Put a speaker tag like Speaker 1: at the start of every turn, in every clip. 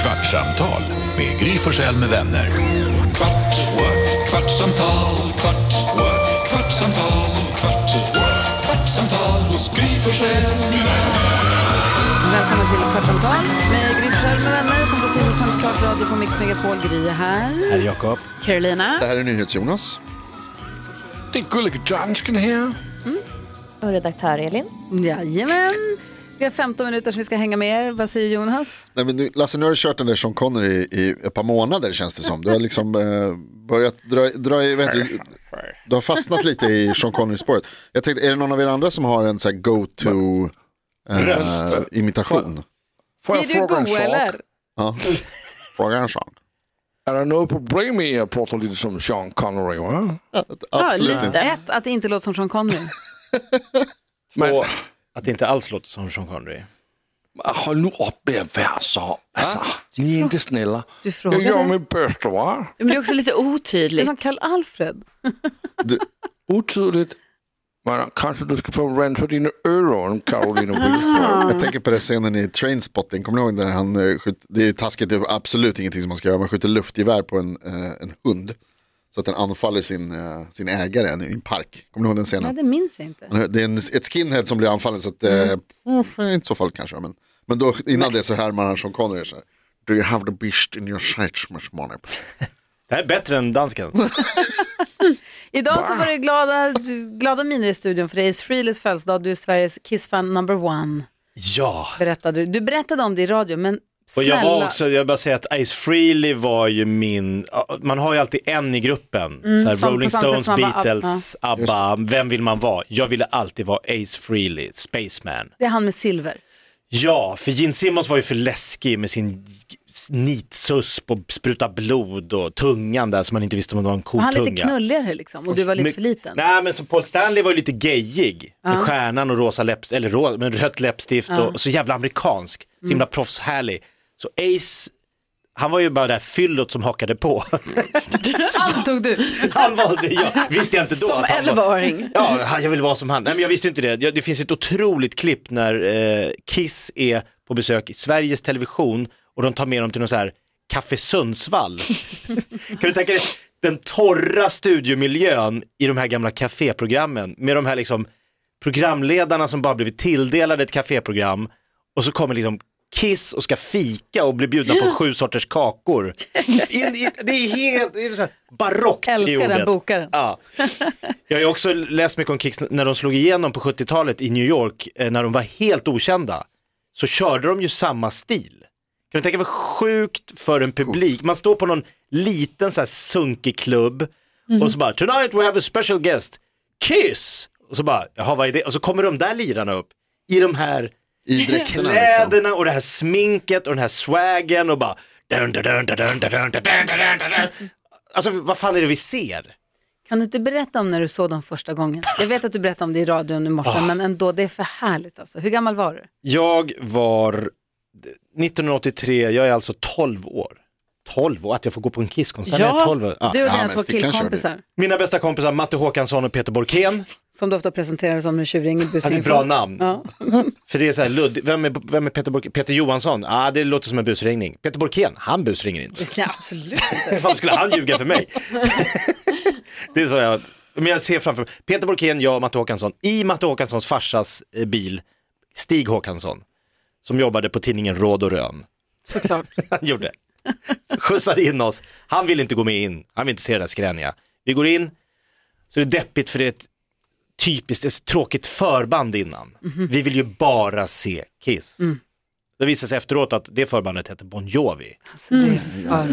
Speaker 1: Kvartsamtal med Gry Forssell med vänner.
Speaker 2: Kvart, what? kvartsamtal, kvart, what? kvartsamtal, kvart, what? kvartsamtal hos Gry Forssell med vänner.
Speaker 3: Välkommen till Kvartsamtal med Gry Forssell med vänner som precis har sänds klart radio på Mix Megapol. Gry är här.
Speaker 4: Här är Jakob.
Speaker 3: Carolina.
Speaker 5: Det här är NyhetsJonas.
Speaker 6: Det är gullig dansken här.
Speaker 7: Och redaktör Elin.
Speaker 3: Jajamän. Vi har 15 minuter som vi ska hänga med er. Vad säger Jonas?
Speaker 5: Nej, men nu, Lasse, nu har du kört den där Sean Connery i, i ett par månader känns det som. Du har liksom eh, börjat dra, dra i- vad heter det? du har fastnat lite i Sean Connery-spåret. Jag tänkte, är det någon av er andra som har en så här go-to eh,
Speaker 6: Rösten.
Speaker 5: imitation?
Speaker 6: Får jag
Speaker 3: är du
Speaker 6: fråga en
Speaker 3: god
Speaker 6: sak?
Speaker 3: eller?
Speaker 5: Ja. Fråga en sak.
Speaker 6: Är det något problem med att prata lite som Sean Connery? Va?
Speaker 5: Absolut
Speaker 3: ja,
Speaker 5: inte.
Speaker 3: lite. Ett, att det inte låter som Sean Connery.
Speaker 6: Men
Speaker 4: Och att det inte alls låter som Sean Connery.
Speaker 6: Ah, håll nu upp med att vara så. Alltså, ni är inte snälla.
Speaker 3: Du
Speaker 6: Jag gör
Speaker 3: frågade.
Speaker 6: mitt bästa va?
Speaker 8: Men det är också lite
Speaker 3: Det är
Speaker 8: otydligt.
Speaker 3: som Karl-Alfred.
Speaker 5: Du,
Speaker 6: Otydligt. Men kanske du ska få rensa dina öron Carolina
Speaker 3: Ah.
Speaker 6: Wilson.
Speaker 5: jag tänker på den scenen i Trainspotting, kommer ni ihåg där han eh, skjut, det är ju taskigt, det är absolut ingenting som man ska göra, man skjuter luftgevär på en, eh, en hund. Så att den anfaller sin, eh, sin ägare i en park. Kommer ni ihåg den scenen?
Speaker 3: Nej, det minns jag inte.
Speaker 5: Det är en, ett skinhead som blir anfallen så att, eh, inte så farligt kanske. Men, men då, innan det så härmar han Sean Connery så här. Do you have the beast in your sights, Miss Money?
Speaker 4: Det här är bättre än dansken.
Speaker 3: Idag så var det glada, glada miner i studion för det är Ace Frehleys födelsedag. Du är Sveriges Kiss-fan number one.
Speaker 4: Ja,
Speaker 3: Berättade du. du berättade om det i radio, men
Speaker 4: och
Speaker 3: snälla.
Speaker 4: jag var också, jag bara säger att Ace Frehley var ju min, man har ju alltid en i gruppen. så här,
Speaker 3: Mm, som på
Speaker 4: Rolling
Speaker 3: samma sätt
Speaker 4: Stones,
Speaker 3: som man bara,
Speaker 4: Beatles, ABBA, vem vill man vara? Jag ville alltid vara Ace Frehley, Spaceman.
Speaker 3: Det är han med silver.
Speaker 4: Ja, för Gene Simmons var ju för läskig med sin nitsusp och spruta blod och tungan där som man inte visste om det var en
Speaker 3: Var
Speaker 4: kotunga.
Speaker 3: han lite knulligare liksom och du var lite
Speaker 4: Men-
Speaker 3: för liten?
Speaker 4: Nej men så Paul Stanley var ju lite gayig med stjärnan och rosa läpps, eller ro, men rött läppstift och så jävla amerikansk,
Speaker 3: Mm.
Speaker 4: så himla proffshärlig. Så Ace, han var ju bara det här fyllot som hakade på.
Speaker 3: Allt tog du.
Speaker 4: Han valde, jag visste jag inte då
Speaker 8: Som
Speaker 4: att han var...
Speaker 8: 11-åring.
Speaker 4: Ja, han- jag vill vara som han. Nej men jag visste inte det. Jag- Det finns ett otroligt klipp när eh, Kiss är på besök i Sveriges Television och de tar med dem till någon så här Café Sundsvall. Kan du tänka dig den torra studiomiljön i de här gamla kaféprogrammen med de här liksom programledarna som bara blivit tilldelade ett kaféprogram och så kommer liksom Kiss och ska fika och bli bjudna på sju sorters kakor. In, in, det är helt det är så här barockt i
Speaker 3: Älskar
Speaker 4: ordet.
Speaker 3: den bokaren.
Speaker 4: Ja. Jag har ju också läst mycket om Kiss när de slog igenom på 70-talet i New York eh, när de var helt okända så körde de ju samma stil. Kan du tänka vad sjukt för en publik? Man står på någon liten så här sunkig klubb och så bara “Tonight we have a special guest, Kiss!” och så bara “Jaha, vad är det?” och så kommer de där lirarna upp i de här
Speaker 5: I dräkterna liksom.
Speaker 4: kläderna och det här sminket och den här swaggen och bara dun, dun, dun, dun, dun, dun, dun, dun, dun, dun, dun. Alltså vad fan är det vi ser?
Speaker 3: Kan du inte berätta om när du såg dem första gången? Jag vet att du berättade om det i radion i morse,
Speaker 4: Ah.
Speaker 3: men ändå, det är för härligt alltså. Hur gammal var du?
Speaker 4: Jag var 1983, jag är alltså 12 år. 12 år, att jag får gå på en Kisskonsert när jag Ah. är 12 år. Ja.
Speaker 3: Du och
Speaker 5: Ja,
Speaker 3: dina
Speaker 5: men
Speaker 3: två
Speaker 5: stickan körde.
Speaker 3: killkompisar,
Speaker 4: Mina bästa kompisar Matte Håkansson och Peter Borkén.
Speaker 3: som du ofta presenterar som en tjuring i
Speaker 4: Han är
Speaker 3: busringen.
Speaker 4: ett bra namn.
Speaker 3: Ja.
Speaker 4: För det är så här luddigt, vem är, vem är Peter Borkén? Peter Johansson? Ah, det låter som en busringning. Peter Borkén, han busringer inte.
Speaker 3: Ja, absolut.
Speaker 4: Varför skulle han ljuga för mig? det är så jag, men jag ser framför mig, Peter Borkén, jag och Matte Håkansson, i Matte Håkanssons farsas eh, bil, Stig Håkansson, som jobbade på tidningen Råd och Rön.
Speaker 3: Såklart.
Speaker 4: Han gjorde. Skjutsade in oss. Han vill inte gå med in. Han vill inte se det där skräniga. Vi går in, så det är deppigt för det är ett typiskt, det är ett tråkigt förband innan. Vi vill ju bara se Kiss. Det visar sig efteråt att det förbandet heter Bon Jovi.
Speaker 3: Alltså, det är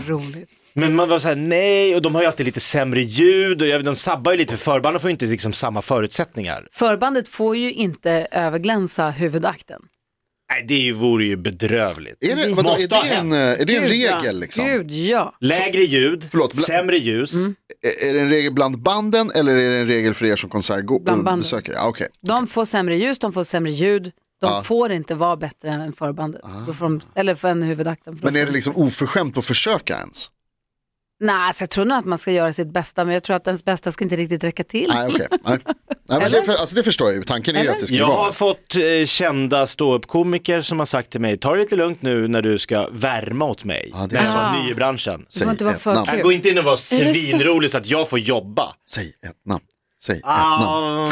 Speaker 3: för roligt.
Speaker 4: Men man var såhär, nej, och de har ju alltid lite sämre ljud och jag- de sabbar ju lite för förbanden får ju inte liksom samma förutsättningar.
Speaker 3: Förbandet får ju inte överglänsa huvudakten.
Speaker 4: Nej, det är ju- vore ju bedrövligt.
Speaker 5: Är det, vadå, är
Speaker 4: Måste ha
Speaker 5: det, en,
Speaker 4: hänt.
Speaker 5: eh, är det en
Speaker 3: Gud, ja.
Speaker 5: regel liksom?
Speaker 3: Gud, ja.
Speaker 4: Lägre ljud,
Speaker 5: Förlåt, bla- Mm.
Speaker 4: sämre ljus.
Speaker 5: Är, är det en regel bland banden eller är det en regel för er som
Speaker 3: Bland banden.
Speaker 5: konsertbesökare? Ja, okej.
Speaker 3: De får sämre ljus, de får sämre ljud. De
Speaker 4: Ah.
Speaker 3: får inte vara bättre än förbandet. Då får de, eller för en huvudakten.
Speaker 5: Men är det liksom oförskämt att försöka ens?
Speaker 3: Nej, så jag tror nog att man ska göra sitt bästa, men jag tror att ens bästa ska inte riktigt räcka till.
Speaker 5: Nej, okej. Nej. Nej, men det, för, alltså, det förstår jag ju. Tanken är ju att det ska
Speaker 4: Jag har
Speaker 5: vara.
Speaker 4: fått eh, kända ståuppkomiker som har sagt till mig, ta det lite lugnt nu när du ska värma åt mig.
Speaker 5: Ja, det
Speaker 4: när
Speaker 5: är
Speaker 4: jag var
Speaker 3: sant.
Speaker 4: ny i branschen.
Speaker 3: Det får inte vara
Speaker 5: ett
Speaker 3: för
Speaker 5: namn.
Speaker 4: Jag
Speaker 3: kul.
Speaker 4: går inte in och var svinrolig så att jag får jobba.
Speaker 5: Säg ett namn. Säg ett namn.
Speaker 4: Ah,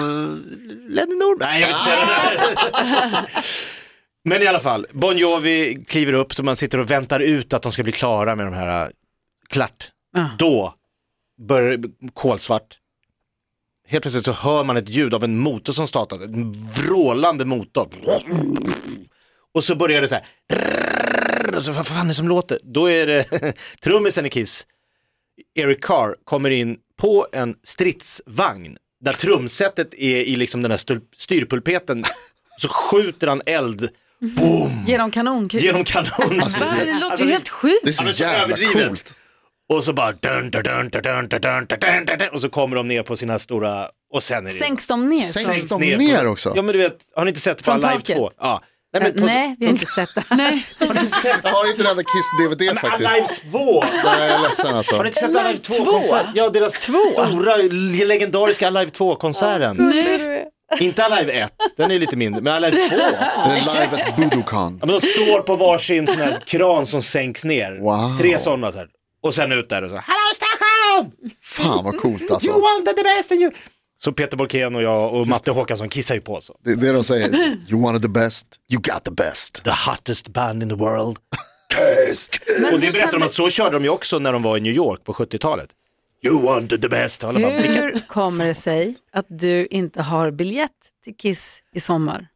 Speaker 4: Lenny Norberg. Nej, jag vill inte säga det där. Men i alla fall, Bon Jovi kliver upp så man sitter och väntar ut att de ska bli klara med de här, äh, klart.
Speaker 3: Ja.
Speaker 4: Då börjar det bli kolsvart. Helt plötsligt så hör man ett ljud av en motor som startas, en vrålande motor. Och så börjar det så här. Och så, vad fan är det som låter? Då är det trummisen i Kiss, Eric Carr, kommer in på en stridsvagn där trumsetet är i liksom den här styr- styrpulpeten. Så skjuter han eld
Speaker 3: Genom kanonkul.
Speaker 4: genom kanonsetet.
Speaker 3: Va? Det låter
Speaker 4: Alltså,
Speaker 3: ju helt sjukt.
Speaker 5: Det är så
Speaker 4: Ja, men så
Speaker 5: jävla
Speaker 4: överdrivet.
Speaker 5: coolt.
Speaker 4: Och så bara dun, dun, dun, dun, dun, dun, dun, dun, dun, dun, och så kommer de ner på sina stora och sen är det
Speaker 3: Sänks de ner?
Speaker 5: Sänks
Speaker 3: från-
Speaker 5: de ner också?
Speaker 4: Ja men du vet, har ni inte sett det på
Speaker 3: Från
Speaker 4: Live
Speaker 3: taket?
Speaker 4: 2? Ja. Nej,
Speaker 3: Nej,
Speaker 4: men på,
Speaker 3: Nej, vi har inte sett det. Nej.
Speaker 4: Har ni inte sett
Speaker 5: Jag har inte den där Kiss-DVD faktiskt.
Speaker 4: Alive 2?
Speaker 5: Nej, jag är ledsen alltså.
Speaker 4: Har ni inte sett
Speaker 3: Alive
Speaker 4: Alive 2?
Speaker 3: 2?
Speaker 4: -konsert? Ja, deras stora legendariska Alive 2-konserten. Inte Alive 1, den är lite mindre, men Alive 2. Ja,
Speaker 5: Det är live at Budokan.
Speaker 4: men de står på varsin sån här kran som sänks ner.
Speaker 5: Wow.
Speaker 4: Tre sådana så här. Och sen ut där och så här, Hallå Stockholm!
Speaker 5: Fan vad coolt alltså.
Speaker 4: You wanted the best and you... Så Peter Borkén och jag och Matte Håkansson kissar ju på oss.
Speaker 5: Det är det de säger. You wanted the best, you got the best.
Speaker 4: The hottest band in the world. Kiss! Och det berättar de att så körde de ju också när de var i New York på 70-talet. You wanted the best. Alla bara, "Vilka
Speaker 3: Hur kommer det sig att du inte har biljett till Kiss i sommar?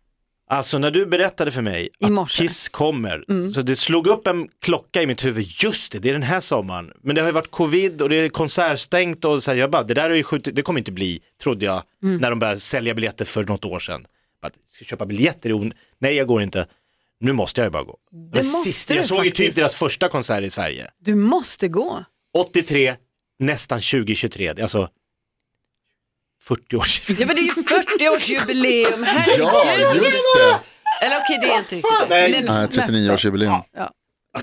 Speaker 4: Alltså när du berättade för mig
Speaker 3: I
Speaker 4: att
Speaker 3: morse.
Speaker 4: Kiss kommer, så det slog upp en klocka i mitt huvud, just det, det är den här sommaren. Men det har ju varit covid och det är konsertstängt och så här, jag bara, det där är ju skjutit, det kommer inte bli, trodde jag, när de började sälja biljetter för något år sedan. Bara, ska jag köpa biljetter? i on- Nej, jag går inte. Nu måste jag ju bara gå. Det
Speaker 3: måste du
Speaker 4: jag såg ju typ
Speaker 3: faktiskt.
Speaker 4: deras första konsert i Sverige.
Speaker 3: Du måste gå.
Speaker 4: 83, nästan 2023, Det är alltså 40 år sedan.
Speaker 8: Ja men det är ju 40-årsjubileum,
Speaker 5: Ja,
Speaker 8: herregud!
Speaker 5: just det.
Speaker 8: Eller okej, det är inte riktigt.
Speaker 4: Nej,
Speaker 5: Nej, 39-årsjubileum.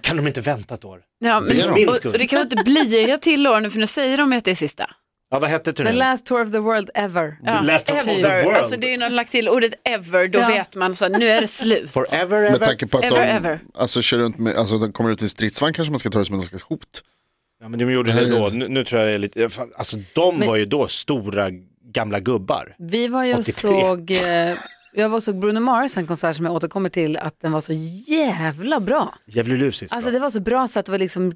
Speaker 4: kan de inte vänta ett år?
Speaker 8: Ja,
Speaker 5: Det är
Speaker 8: men,
Speaker 5: de.
Speaker 8: och, och det kan ju inte bli ett till år nu, för nu säger de ju att det är sista.
Speaker 4: Ja, vad hette
Speaker 3: The
Speaker 4: turnén?
Speaker 3: last tour of the world ever.
Speaker 8: Ja,
Speaker 4: Last of the
Speaker 8: ever.
Speaker 4: world.
Speaker 8: Alltså det är ju när de lagt till ordet ever, då
Speaker 3: Typ. Ja.
Speaker 8: vet man så här, nu är det slut.
Speaker 4: Forever
Speaker 5: Med
Speaker 4: ever?
Speaker 5: tanke på att
Speaker 8: Ever,
Speaker 5: de
Speaker 8: ever.
Speaker 5: alltså, kör runt med, alltså, de kommer ut i en stridsvagn kanske man ska ta det som en slags hot.
Speaker 4: Ja, men de gjorde det då, nu, nu tror jag det är lite, fan, alltså de var ju då stora gamla gubbar.
Speaker 3: Vi var ju och
Speaker 4: 83.
Speaker 3: såg, eh, jag var och såg Bruno Mars en konsert som jag återkommer till att den var så jävla bra.
Speaker 4: Djävululusiskt
Speaker 3: Alltså
Speaker 4: alltså,
Speaker 3: det var så bra så att det var liksom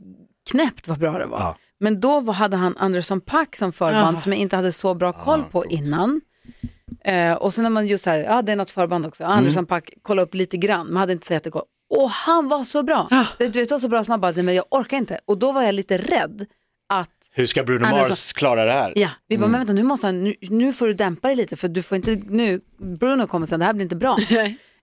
Speaker 3: knäppt vad bra det var.
Speaker 4: Ja.
Speaker 3: Men då var- hade han Anderson Pack som
Speaker 8: Ah.
Speaker 3: förband som jag inte hade så
Speaker 4: Ah,
Speaker 3: bra koll på innan. Eh, och så när man just här, ja det är något förband också,
Speaker 4: Mm.
Speaker 3: Anderson Pack, kolla upp lite grann, man hade inte så jättekoll. Och han var så bra.
Speaker 8: Ah.
Speaker 3: Det, du vet, det var så bra som man bara, nej men jag orkar inte. Och då var jag lite rädd att
Speaker 4: Hur ska Bruno
Speaker 3: Andersson-
Speaker 4: Mars klara det här?
Speaker 3: Ja, vi
Speaker 4: Mm.
Speaker 3: bara, men vänta nu måste han, nu, nu får du dämpa dig lite för du får inte, nu, Bruno kommer sen, det här blir inte bra.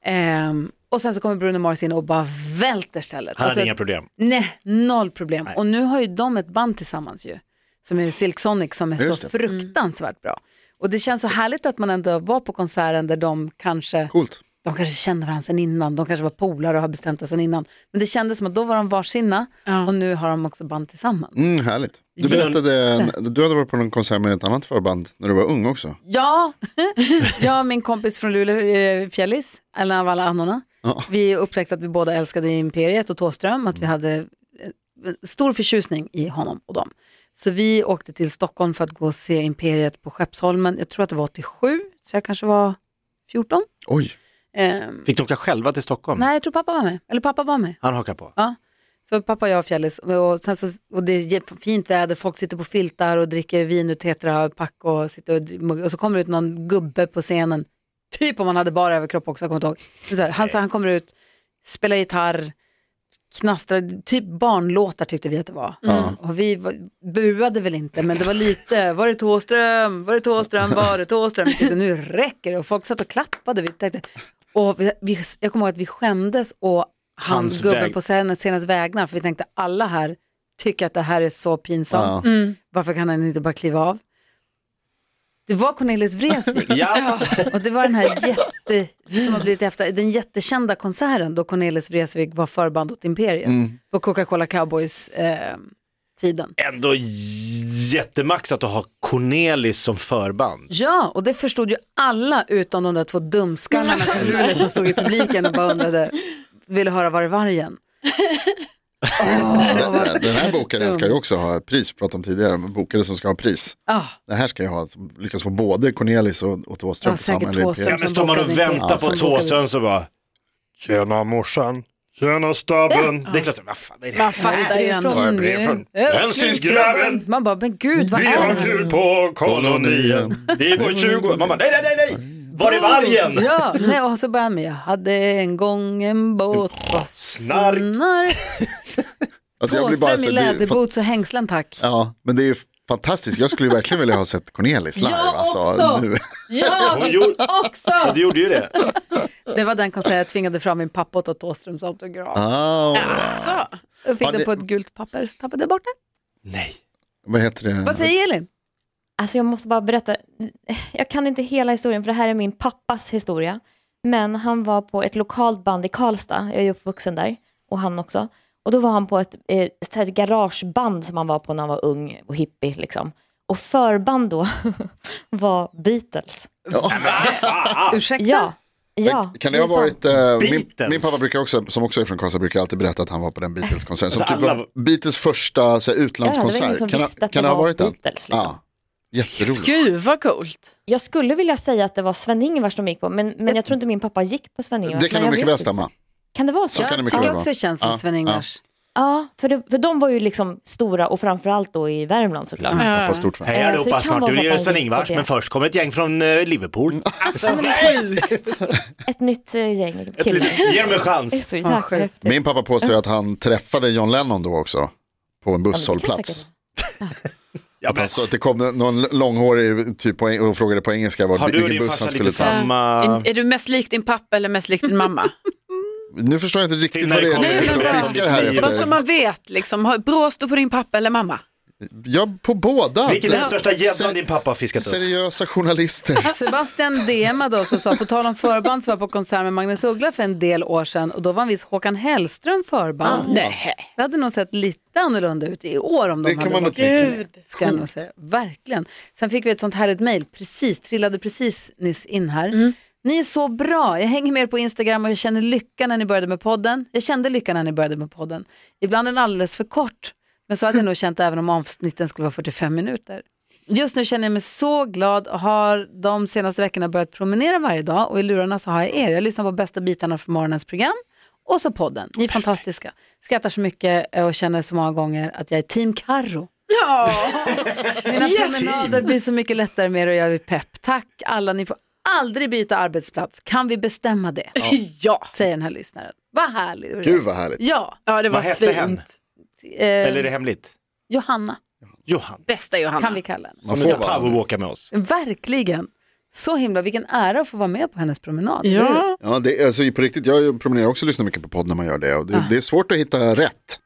Speaker 3: Ehm, och sen så kommer Bruno Mars in och bara välter stället.
Speaker 4: Han hade
Speaker 3: Alltså,
Speaker 4: inga problem.
Speaker 3: Nej, noll problem. Och nu har ju de ett band tillsammans ju, som är Silk Sonic som är
Speaker 5: Just
Speaker 3: så
Speaker 5: det.
Speaker 4: Mm.
Speaker 3: fruktansvärt bra. Och det känns så härligt att man ändå var på konserten där de kanske,
Speaker 5: Coolt.
Speaker 3: de kanske kände varandra sen innan, de kanske var polare och har bestämt det sen innan. Men det kändes som att då var de varsina och nu har de också band tillsammans.
Speaker 5: Mm, härligt. Du berättade, du hade varit på någon konsert med ett annat förband när du var ung också.
Speaker 3: Ja, jag och min kompis från Luleå, eh, Fjällis, Ellen av alla annorna.
Speaker 5: Ja.
Speaker 3: Vi upptäckte att vi båda älskade Imperiet och Thåström, att vi hade eh, stor förtjusning i honom och dem. Så vi åkte till Stockholm för att gå och se Imperiet på Skeppsholmen. Jag tror att det var 87, så jag kanske var 14.
Speaker 5: Oj,
Speaker 3: Ehm,
Speaker 4: Fick de åka själva till Stockholm?
Speaker 3: nej, jag tror pappa var med. Eller pappa var med.
Speaker 4: Han hakar på.
Speaker 3: Så pappa, jag och Fjällis, och, sen så, och det är jä- fint väder, folk sitter på filtar och dricker vin ur Tetra Pak och, sitter och, muggar. och så kommer det ut någon gubbe på scenen, typ om han hade bara överkropp också, jag kommer inte ihåg. Men Så här, han, så han kommer ut, spelar gitarr, knastrar, typ barnlåtar tyckte vi att det var. Och vi var, buade väl inte, men det var lite, var det Tåström, var det Tåström, var det Tåström? Vi tyckte, nu räcker det, och folk satt och klappade. Vi tänkte, och vi, vi, jag kommer ihåg att vi skämdes och han,
Speaker 4: Hans
Speaker 3: gubben
Speaker 4: väg-
Speaker 3: på scenen, scenens vägnar, för vi tänkte alla här tycker att det här är så pinsamt. Varför kan han inte bara kliva av? Det var Cornelis Vreeswijk
Speaker 4: Ja,
Speaker 3: och det var den här jätte, som har blivit efter, den jättekända konserten då Cornelis Vreeswijk var förband åt Imperiet på Coca-Cola Cowboys eh, tiden.
Speaker 4: Ändå j- jättemaxat att ha Cornelis som förband.
Speaker 3: Ja, och det förstod ju alla utom de där två dumskallarna från Luleå som stod i publiken och bara undrade, ville höra var är vargen?
Speaker 5: Den, den här bokaren ska ju
Speaker 3: dumt.
Speaker 5: också ha ett pris, vi pratade om tidigare, men bokare som ska ha pris.
Speaker 3: Ah,
Speaker 5: Det här ska ju ha, som lyckas få både Cornelis och, och Thåström
Speaker 3: Ja, säkert
Speaker 5: samma
Speaker 3: Thåström.
Speaker 4: Ja,
Speaker 5: imperium.
Speaker 4: men står man och väntar på
Speaker 5: Ja,
Speaker 4: Thåström så bara,
Speaker 9: Tjena morsan, tjena stabben.
Speaker 4: det är klart, så här, vad fan är det?
Speaker 8: Man fattar ju ändå.
Speaker 9: Vad är brev från Hänsynsgrabben?
Speaker 3: Man bara, men gud, vad
Speaker 9: Vi
Speaker 3: är
Speaker 9: har
Speaker 3: det?
Speaker 9: kul på kolonien. Det är vår 20 Man bara, nej, nej, nej, nej.
Speaker 4: Var är vargen?
Speaker 3: Ja, nej, och så börjar han med, jag hade en gång en båt, vad
Speaker 4: Snark.
Speaker 3: snark.
Speaker 5: Alltså, jag blir bara
Speaker 3: Thåström
Speaker 5: så,
Speaker 3: i
Speaker 5: det, är fa-
Speaker 3: läderboots och hängslen tack.
Speaker 5: ja, men det är ju fantastiskt, jag skulle ju verkligen vilja ha sett Cornelis live.
Speaker 3: Jag också.
Speaker 5: alltså, nu.
Speaker 3: Ja,
Speaker 4: Hon gjorde,
Speaker 3: också!
Speaker 4: du gjorde ju det.
Speaker 3: Det var den konserten jag tvingade fram min pappa och ta Thåströms autograf.
Speaker 5: Ah,
Speaker 8: Alltså,
Speaker 3: Jag fick
Speaker 5: Ja,
Speaker 3: den
Speaker 5: det-
Speaker 3: på ett gult papper, så tappade jag bort den.
Speaker 4: Nej.
Speaker 5: vad heter det?
Speaker 3: Vad säger Elin?
Speaker 7: Alltså jag måste bara berätta, jag kan inte hela historien för det här är min pappas historia. Men han var på ett lokalt band i Karlstad, jag är ju uppvuxen där, och han också. Och då var han på ett, eh, så här ett garageband som han var på när han var ung och hippie liksom. Och förband då var Beatles.
Speaker 8: Ah.
Speaker 3: Ursäkta?
Speaker 7: Ja. Ja,
Speaker 5: Kan det ha
Speaker 7: är
Speaker 5: varit,
Speaker 7: sant.
Speaker 5: eh, min,
Speaker 4: Beatles.
Speaker 5: min pappa brukar också, som också är från Karlstad, brukar alltid berätta att han var på den Beatles-konserten. Som
Speaker 4: Alltså,
Speaker 5: typ
Speaker 4: alla-
Speaker 5: var Beatles första så här,
Speaker 7: Ja, det var ingen
Speaker 5: utlandskonsert.
Speaker 7: som
Speaker 5: kan
Speaker 7: visste
Speaker 5: ha,
Speaker 7: att
Speaker 5: kan
Speaker 7: det
Speaker 5: det ha
Speaker 7: var
Speaker 5: varit den?
Speaker 7: Beatles, liksom.
Speaker 5: Ja, jätteroligt.
Speaker 8: gud vad coolt.
Speaker 7: Jag skulle vilja säga att det var Sven-Ingvars de gick på, men, men jag tror inte min pappa gick på Sven-Ingvars.
Speaker 5: Det kan
Speaker 7: men
Speaker 5: nog
Speaker 7: jag
Speaker 5: mycket
Speaker 7: vet
Speaker 5: väl
Speaker 7: inte.
Speaker 5: stämma.
Speaker 7: Kan det vara så?
Speaker 5: Så kan det mycket
Speaker 3: Tycker
Speaker 5: väl
Speaker 3: jag
Speaker 5: vara. Ah,
Speaker 3: också känns som
Speaker 5: Ja,
Speaker 3: Sven-Ingvars.
Speaker 7: Ja, för, det, för de var ju liksom stora och framförallt då i Värmland såklart.
Speaker 5: Precis, pappa är stort fan.
Speaker 4: Hej
Speaker 7: Eh, så det
Speaker 4: allihopa,
Speaker 7: kan
Speaker 4: snart
Speaker 7: vara
Speaker 4: du
Speaker 7: så att
Speaker 4: blir
Speaker 7: han gick
Speaker 4: Sven-Ingvars,
Speaker 7: på det.
Speaker 4: men först kommer ett gäng från eh, Liverpool.
Speaker 7: Alltså, Ett nytt eh, gäng
Speaker 4: Ett
Speaker 7: killar.
Speaker 4: litet- Ge dem en
Speaker 7: Det är
Speaker 4: chans.
Speaker 7: så jäkla
Speaker 3: sjukt.
Speaker 7: häftigt.
Speaker 5: Min pappa påstår ju att han träffade John Lennon då också. På en
Speaker 7: Ja, men det kan
Speaker 5: busshållplats.
Speaker 7: säkert-
Speaker 4: Ja, men,
Speaker 5: Så att det kom någon långhårig typ på, en- och frågade på engelska
Speaker 4: har
Speaker 5: var
Speaker 4: du och
Speaker 5: vilken
Speaker 4: din
Speaker 5: buss
Speaker 4: farsa
Speaker 5: han
Speaker 4: lite
Speaker 5: skulle ta.
Speaker 4: samma...
Speaker 8: Eh, Är, är du mest lik din pappa eller mest lik din mamma?
Speaker 5: Nu förstår jag inte
Speaker 4: Till
Speaker 5: riktigt
Speaker 4: när
Speaker 5: vad det
Speaker 4: det
Speaker 5: är
Speaker 4: kommer
Speaker 5: ni
Speaker 8: till
Speaker 5: ute och
Speaker 8: den.
Speaker 5: fiskar här
Speaker 4: Vad
Speaker 8: Vad
Speaker 5: efter.
Speaker 8: som man vet liksom, har- brås du på din pappa eller mamma?
Speaker 5: Ja, på båda.
Speaker 4: Vilken är den största gäddan
Speaker 5: Ser-
Speaker 4: din pappa har fiskat upp?
Speaker 5: Seriösa journalister.
Speaker 3: Sebastian DMade oss och sa, på tal om förband så var jag på konsert med Magnus Uggla för en del år sedan och då var en viss Håkan Hellström förband.
Speaker 8: Nej.
Speaker 3: Det hade nog sett lite annorlunda ut i år om de
Speaker 5: Det
Speaker 3: hade
Speaker 5: kan man nog
Speaker 3: varit
Speaker 5: tänka sig.
Speaker 3: ska jag nog säga. Verkligen. Sen fick vi ett sånt härligt mejl, precis, trillade precis nyss in här. Ni är så bra, jag hänger med er på Instagram och jag känner lycka när ni började med podden. Jag kände lycka när ni började med podden. Ibland är den alldeles för kort, men så hade jag nog känt även om avsnitten skulle vara 45 minuter. Just nu känner jag mig så glad och har de senaste veckorna börjat promenera varje dag och i lurarna så har jag er. Jag lyssnar på bästa bitarna från morgonens program och så podden. Ni är fantastiska. Skrattar så mycket eh, och känner så många gånger att jag är team Karro. Mina promenader blir så mycket lättare med er och jag är pepp. Tack alla, ni får aldrig byta arbetsplats. Kan vi bestämma det?
Speaker 8: Ja.
Speaker 3: Säger den här lyssnaren. Vad härligt.
Speaker 5: Gud vad härligt.
Speaker 3: Ja,
Speaker 8: Ja, det var
Speaker 4: Vad hette
Speaker 8: fint.
Speaker 4: hen? Eller är
Speaker 3: eh,
Speaker 4: det hemligt?
Speaker 3: Johanna
Speaker 4: Johan,
Speaker 8: Bästa Johanna.
Speaker 3: kan vi kalla henne.
Speaker 5: Man
Speaker 4: som
Speaker 5: får
Speaker 4: inte
Speaker 5: vara
Speaker 4: powerwalkar med oss.
Speaker 3: Verkligen. Så himla, vilken ära att få vara med på hennes promenad. eller hur?
Speaker 8: Ja.
Speaker 5: Ja, det, är- alltså, på riktigt, jag promenerar också och lyssnar mycket på podd när man gör det. Och det, det är svårt att hitta rätt.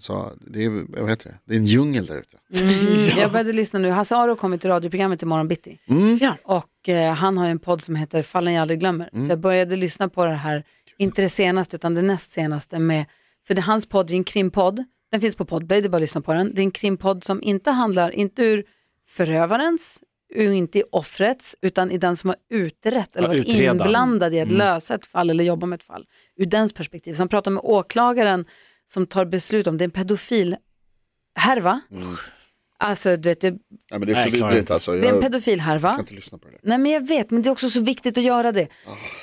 Speaker 5: Så det är, vad heter det? det är en djungel där ute.
Speaker 3: Mm. Jag började lyssna nu, Hasse Aro kom ju till radioprogrammet imorgon bitti.
Speaker 4: Mm.
Speaker 8: Ja.
Speaker 3: Och eh, han har ju en podd som heter Fallen jag aldrig glömmer.
Speaker 4: Mm.
Speaker 3: Så jag började lyssna på det här, inte det senaste utan det näst senaste med, för det, hans podd är en krimpodd, den finns på Podplay, det är bara att lyssna på den. Det är en krimpodd som inte handlar, inte ur förövarens, ur, inte i offrets, utan i den som har utrett eller
Speaker 4: Ja,
Speaker 3: varit
Speaker 4: utredaren. Mm.
Speaker 3: inblandad i att lösa ett fall eller jobba med ett fall. Ur dens perspektiv. Så han pratar med åklagaren som tar beslut om, det är en pedofil härva. Alltså du vet, det,
Speaker 5: Ja, men det är
Speaker 4: Nej,
Speaker 5: så
Speaker 4: sorry.
Speaker 5: vidrigt alltså.
Speaker 3: det är en
Speaker 5: Jag kan
Speaker 3: pedofil härva.
Speaker 5: inte Ah, lyssna på det där.
Speaker 3: Nej men jag vet, men det är också så viktigt att göra det.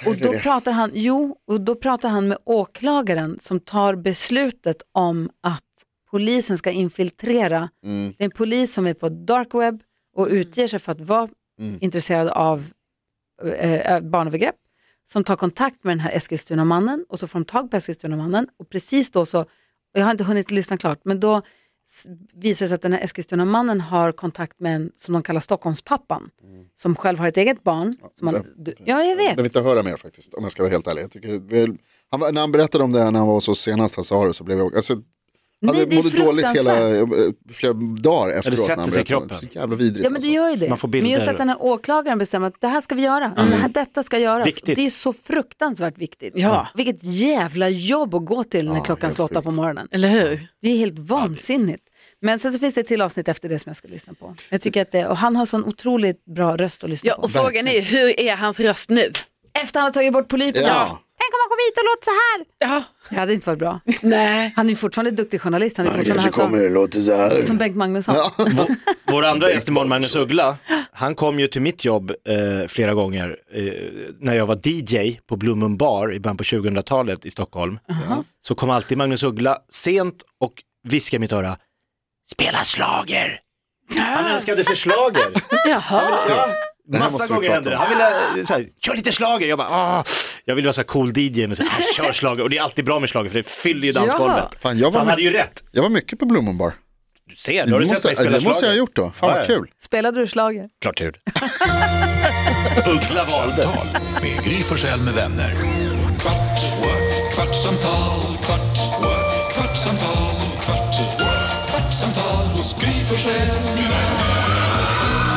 Speaker 3: och då pratar han, jo, och då pratar han med åklagaren som tar beslutet om att polisen ska infiltrera. Det är en polis som är på dark web och utger sig för att vara intresserad av eh, eh, barnövergrepp som tar kontakt med den här Eskilstuna-mannen och så får de tag på Eskilstuna-mannen och precis då så, och jag har inte hunnit lyssna klart, men då s- visar det sig att den här Eskilstuna-mannen har kontakt med en som de kallar Stockholmspappan, som själv har ett eget barn. Som han, du, ja, jag
Speaker 5: Jag
Speaker 3: vet.
Speaker 5: vill inte höra mer faktiskt, om jag ska vara helt ärlig. Jag tycker, väl- han, var- när han berättade om det här när han var hos oss senast, Hasse Aro, så blev jag... Alltså, han
Speaker 3: Nej, det är
Speaker 5: mådde dåligt hela,
Speaker 3: fruktansvärt.
Speaker 5: eh, flera dagar efteråt.
Speaker 4: sätter
Speaker 5: när han
Speaker 4: sig
Speaker 5: berättade.
Speaker 4: i kroppen.
Speaker 5: Så jävla vidrigt. alltså.
Speaker 3: Ja men det gör ju det.
Speaker 4: Alltså, Man får
Speaker 3: men just
Speaker 4: bilder. Mm.
Speaker 3: att den här åklagaren bestämmer att det här ska vi göra, det här, detta ska göras.
Speaker 4: Viktigt.
Speaker 3: Det är så fruktansvärt viktigt. Ja. Vilket jävla jobb att gå till när klockan
Speaker 5: helt
Speaker 3: slår åtta
Speaker 5: sjukt.
Speaker 3: på morgonen.
Speaker 8: Eller hur?
Speaker 3: Det är helt vansinnigt. Men sen så finns det ett till avsnitt efter det som jag ska lyssna på. Jag tycker
Speaker 4: Mm.
Speaker 3: att det, och han har sån otroligt bra röst att lyssna
Speaker 8: Ja,
Speaker 3: på.
Speaker 8: och frågan är ju, hur är hans röst nu?
Speaker 3: Efter han har tagit bort polyperna.
Speaker 5: Ja.
Speaker 3: Tänk om han kom hit och låter så här.
Speaker 8: Ja.
Speaker 3: Det hade inte varit bra.
Speaker 8: Nej.
Speaker 3: Han är ju fortfarande duktig journalist. Han är fortfarande han som,
Speaker 5: det låter så här.
Speaker 3: som Bengt Magnusson.
Speaker 4: Vår andra gäst imorgon, Magnus Uggla, han kom ju till mitt jobb eh, flera gånger eh, när jag var DJ på Blommen bar i början på 2000-talet i Stockholm. Så kom alltid Magnus Uggla sent och viskade i mitt öra, spela slager. Han önskade sig slager.
Speaker 3: Jaha.
Speaker 4: Ja,
Speaker 5: här
Speaker 4: massa
Speaker 5: måste vi
Speaker 4: gånger
Speaker 5: prata
Speaker 4: hände det. Han ville eh, så här, kör lite slager. Jag bara, ah. Jag ville vara så här cool DJ, men så här, "Ah, kör slager. Och det är alltid bra med slager för det fyller ju dansgolvet.
Speaker 5: Fan, jag var
Speaker 4: Så han
Speaker 5: med-
Speaker 4: hade ju rätt.
Speaker 5: Jag var mycket på Blomman Bar.
Speaker 4: Du ser, då har du
Speaker 5: Det
Speaker 4: sett mig
Speaker 5: måste,
Speaker 4: spela
Speaker 5: det måste jag ha
Speaker 4: schlager.
Speaker 5: gjort då. Fan
Speaker 4: Ja,
Speaker 5: vad
Speaker 4: ja.
Speaker 5: kul.
Speaker 3: Spelade du slager?
Speaker 4: Klart jag gjorde. Uggla valde.
Speaker 1: Tal med Gry Forssell med vänner.
Speaker 2: Kvart, what? kvartsamtal, kvart, what? kvartsamtal, kvart, what? kvartsamtal hos Gry Forssell med vänner.